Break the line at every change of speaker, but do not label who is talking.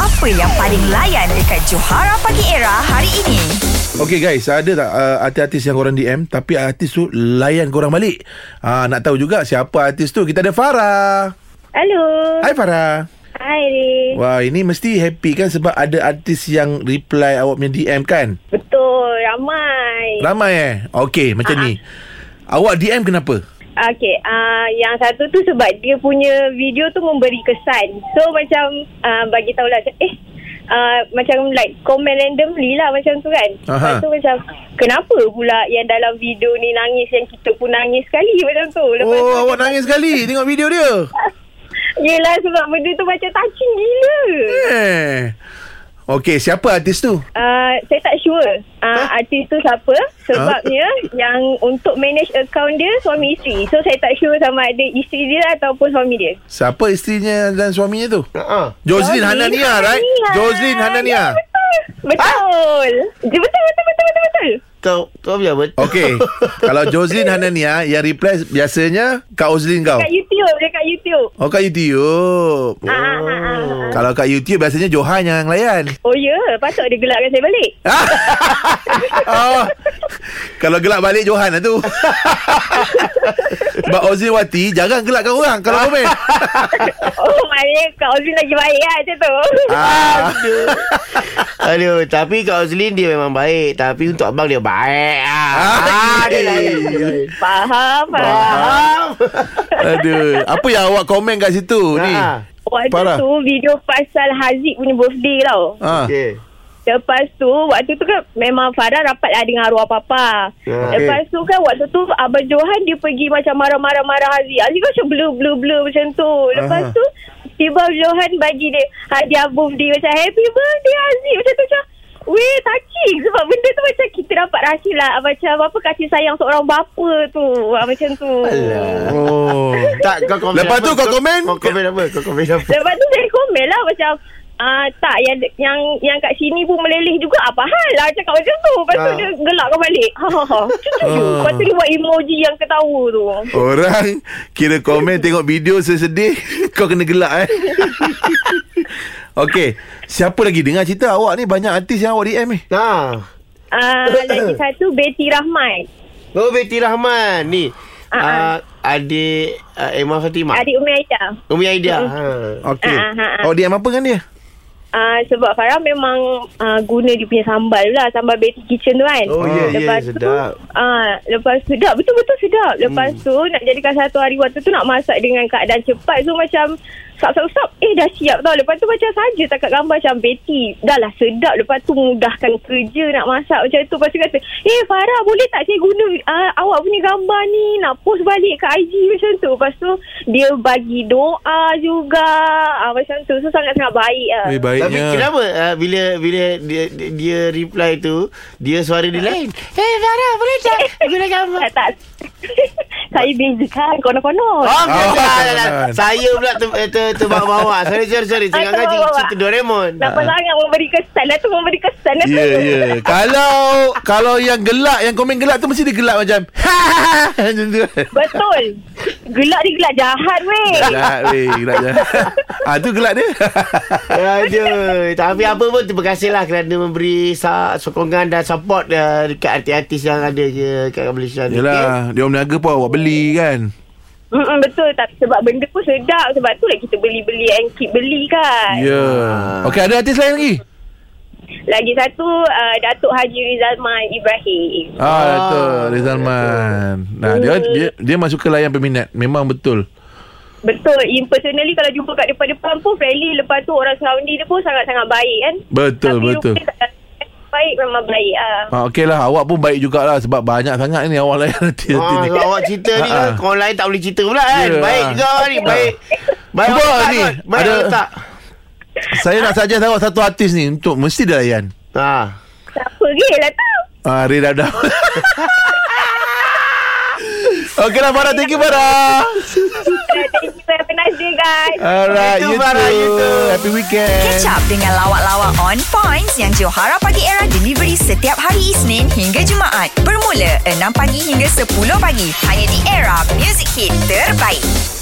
Apa yang paling layan dekat Johara Pagi Era hari ini?
Okay guys, ada tak uh, artis-artis yang korang DM tapi artis tu layan korang balik? Uh, nak tahu juga siapa artis tu? Kita ada Farah.
Hello.
Hai Farah.
Hai Riz.
Wah, ini mesti happy kan sebab ada artis yang reply awak punya DM kan?
Betul, ramai.
Ramai eh? Okay, macam ni. Awak DM kenapa?
Okey, uh, yang satu tu sebab dia punya video tu memberi kesan. So macam uh, bagi tahulah macam eh Uh, macam like komen randomly lah macam tu kan
Aha.
Lepas tu macam Kenapa pula yang dalam video ni nangis Yang kita pun nangis sekali macam tu Lepas
oh,
tu
awak nangis sekali tengok video dia.
Yelah sebab benda tu macam touching gila
Eh. Okay, siapa artis tu?
Uh, saya tak sure uh, artis tu siapa sebabnya yang untuk manage account dia suami isteri. So saya tak sure sama ada isteri dia ataupun suami dia.
Siapa isterinya dan suaminya tu?
Ha.
Jocelyn Hanania, right? Jocelyn Hanania.
Ya, betul. Betul. Ha? betul. Betul betul betul betul.
Kau kau biar betul.
Okey. Kalau Jocelyn Hanania yang reply biasanya Kak Ozlin kau.
Kat YouTube, dekat YouTube.
Oh kat YouTube.
Ah, ah, ah, ah, ah.
Kalau kat YouTube biasanya Johan yang layan.
Oh ya, yeah. patut dia gelakkan saya balik.
oh. Kalau gelak balik Johan lah tu. Sebab Ozlin Wati jarang gelakkan orang kalau komen.
Oh, maknanya Kak Ozlin lagi baik lah macam tu.
ah.
Aduh, tapi Kak Ozlin dia memang baik. Tapi untuk abang dia baik. Ah, ah dia lain.
Faham, faham.
Faham?
Aduh, apa yang awak komen kat situ Oh, ni? Ah.
Ha.
Waktu
Farah.
tu video pasal Haziq punya birthday tau.
Ah.
Okey.
Lepas tu Waktu tu kan Memang Farah rapat lah Dengan arwah papa
Ya.
Lepas tu kan Waktu tu Abang Johan Dia pergi macam marah-marah-marah Haziq Haziq kan macam blur-blur-blur Macam tu Lepas
Aha.
tu Tiba Johan bagi dia Hadiah birthday Macam happy birthday Haziq Macam tu macam Weh touching Sebab benda tu macam Kita dapat rasa lah Macam apa Kasih sayang seorang bapa tu Ah, Macam tu
Alah.
Oh.
Tak kau komen
Lepas
apa?
tu kau komen?
Kau komen apa? Kau komen apa?
Lepas tu saya komen lah Macam Ah tak yang yang yang kat sini pun meleleh juga apa hal lah cakap macam tu. Lepas tu
Ah.
dia gelakkan balik. Ha ha ha. Macam tu je.
Ah.
Lepas tu dia buat emoji yang ketawa tu.
Orang kira komen tengok video sesedih kau kena gelak eh. Okey, siapa lagi dengar cerita awak ni banyak artis yang awak DM ni.
Nah.
Ah lagi satu Betty Rahmat.
Oh, Betty Rahman ni.
Ah,
Ah, adik ah, Emma Fatimah.
Adik Umi Aisyah.
Umi Aida. Ha.
Okey.
Ah, ah, ah.
Awak DM apa dengan dia?
Ah sebab Farah memang ah, guna dia punya sambal lah sambal Betty Kitchen tu kan.
Oh, ya, ya,
Lepas tu
sedap.
ah lepas tu sedap betul betul sedap. Lepas tu nak jadikan satu hari waktu tu nak masak dengan keadaan cepat so macam sap sap sap eh dah siap tau. Lepas tu macam saja tak kat gambar macam Betty dah lah sedap lepas tu mudahkan kerja nak masak macam tu. Lepas tu kata eh Farah boleh tak saya guna ah, awak punya gambar ni nak post balik ke IG macam tu. Lepas tu dia bagi doa juga ah, macam tu. So sangat-sangat baik lah.
Eh,
Tapi kenapa ah, bila bila dia, dia, dia reply tu, dia suara dia lain. Eh, Farah, boleh tak? Guna gambar.
Tak, tak. Saya bezakan konon-konon.
Oh,
Oh,
biasa lah, lah.
jangan.
Saya pula ter, eh, ter, terbawa-bawa. Sorry, sorry, sorry. Cakap
Ah,
kan
terbawa-bawa.
cerita Doraemon.
Nampak sangat memberi kesan lah tu memberi kesan lah
Ya,
tu.
yeah, ya. Yeah. kalau kalau yang gelak, yang komen gelak tu mesti dia gelak macam. "Ha, Macam tu.
Betul. Gelak ni gelak jahat weh.
Gelak weh, gelak je. Ah tu gelak dia.
Aduh. Ya, Tapi apa pun terima kasihlah kerana memberi sa- sokongan dan support uh, dekat artis-artis yang ada je kat Malaysia ni.
Yalah, dia orang berniaga pun awak beli kan.
Mm-mm, betul tak sebab benda pun sedap sebab tu lah kita beli-beli and keep beli
Ya.
kan.
Yeah. Okey, ada artis lain lagi?
Lagi satu uh, Datuk Haji Rizalman Ibrahim.
Ah,
Ah,
betul Rizalman. Nah, dia dia dia masuk ke layan peminat. Memang betul.
Betul. In personally kalau jumpa kat depan-depan pun friendly lepas tu orang surrounding dia pun sangat-sangat baik kan.
Betul,
Tapi
betul.
rupanya tak- Baik memang baik ah.
Ah, okey lah. Awak pun baik jugalah sebab banyak sangat ni awak layan nanti.
Ah,
nanti ni.
sebab awak cerita
Ah,
ni
ah.
kan Orang lain tak boleh cerita pula kan
Ya.
Baik juga awak ni Baik Baik
Cuba
awak
ni,
tak, Baik
ada-
awak tak
Saya nak suggest awak satu artis ni untuk mesti dia layan.
ha.
Siapa gil lah tu.
Ah, Ray Dadam. Okey lah Farah Thank you Farah
Thank you. Have a nice day guys.
Alright You
You too, Farah, you
too
too.
Happy weekend
Catch up dengan lawak-lawak on points yang Johara Pagi Era delivery setiap hari Isnin hingga Jumaat. Bermula 6 pagi hingga 10 pagi. Hanya di Era Music Hit Terbaik.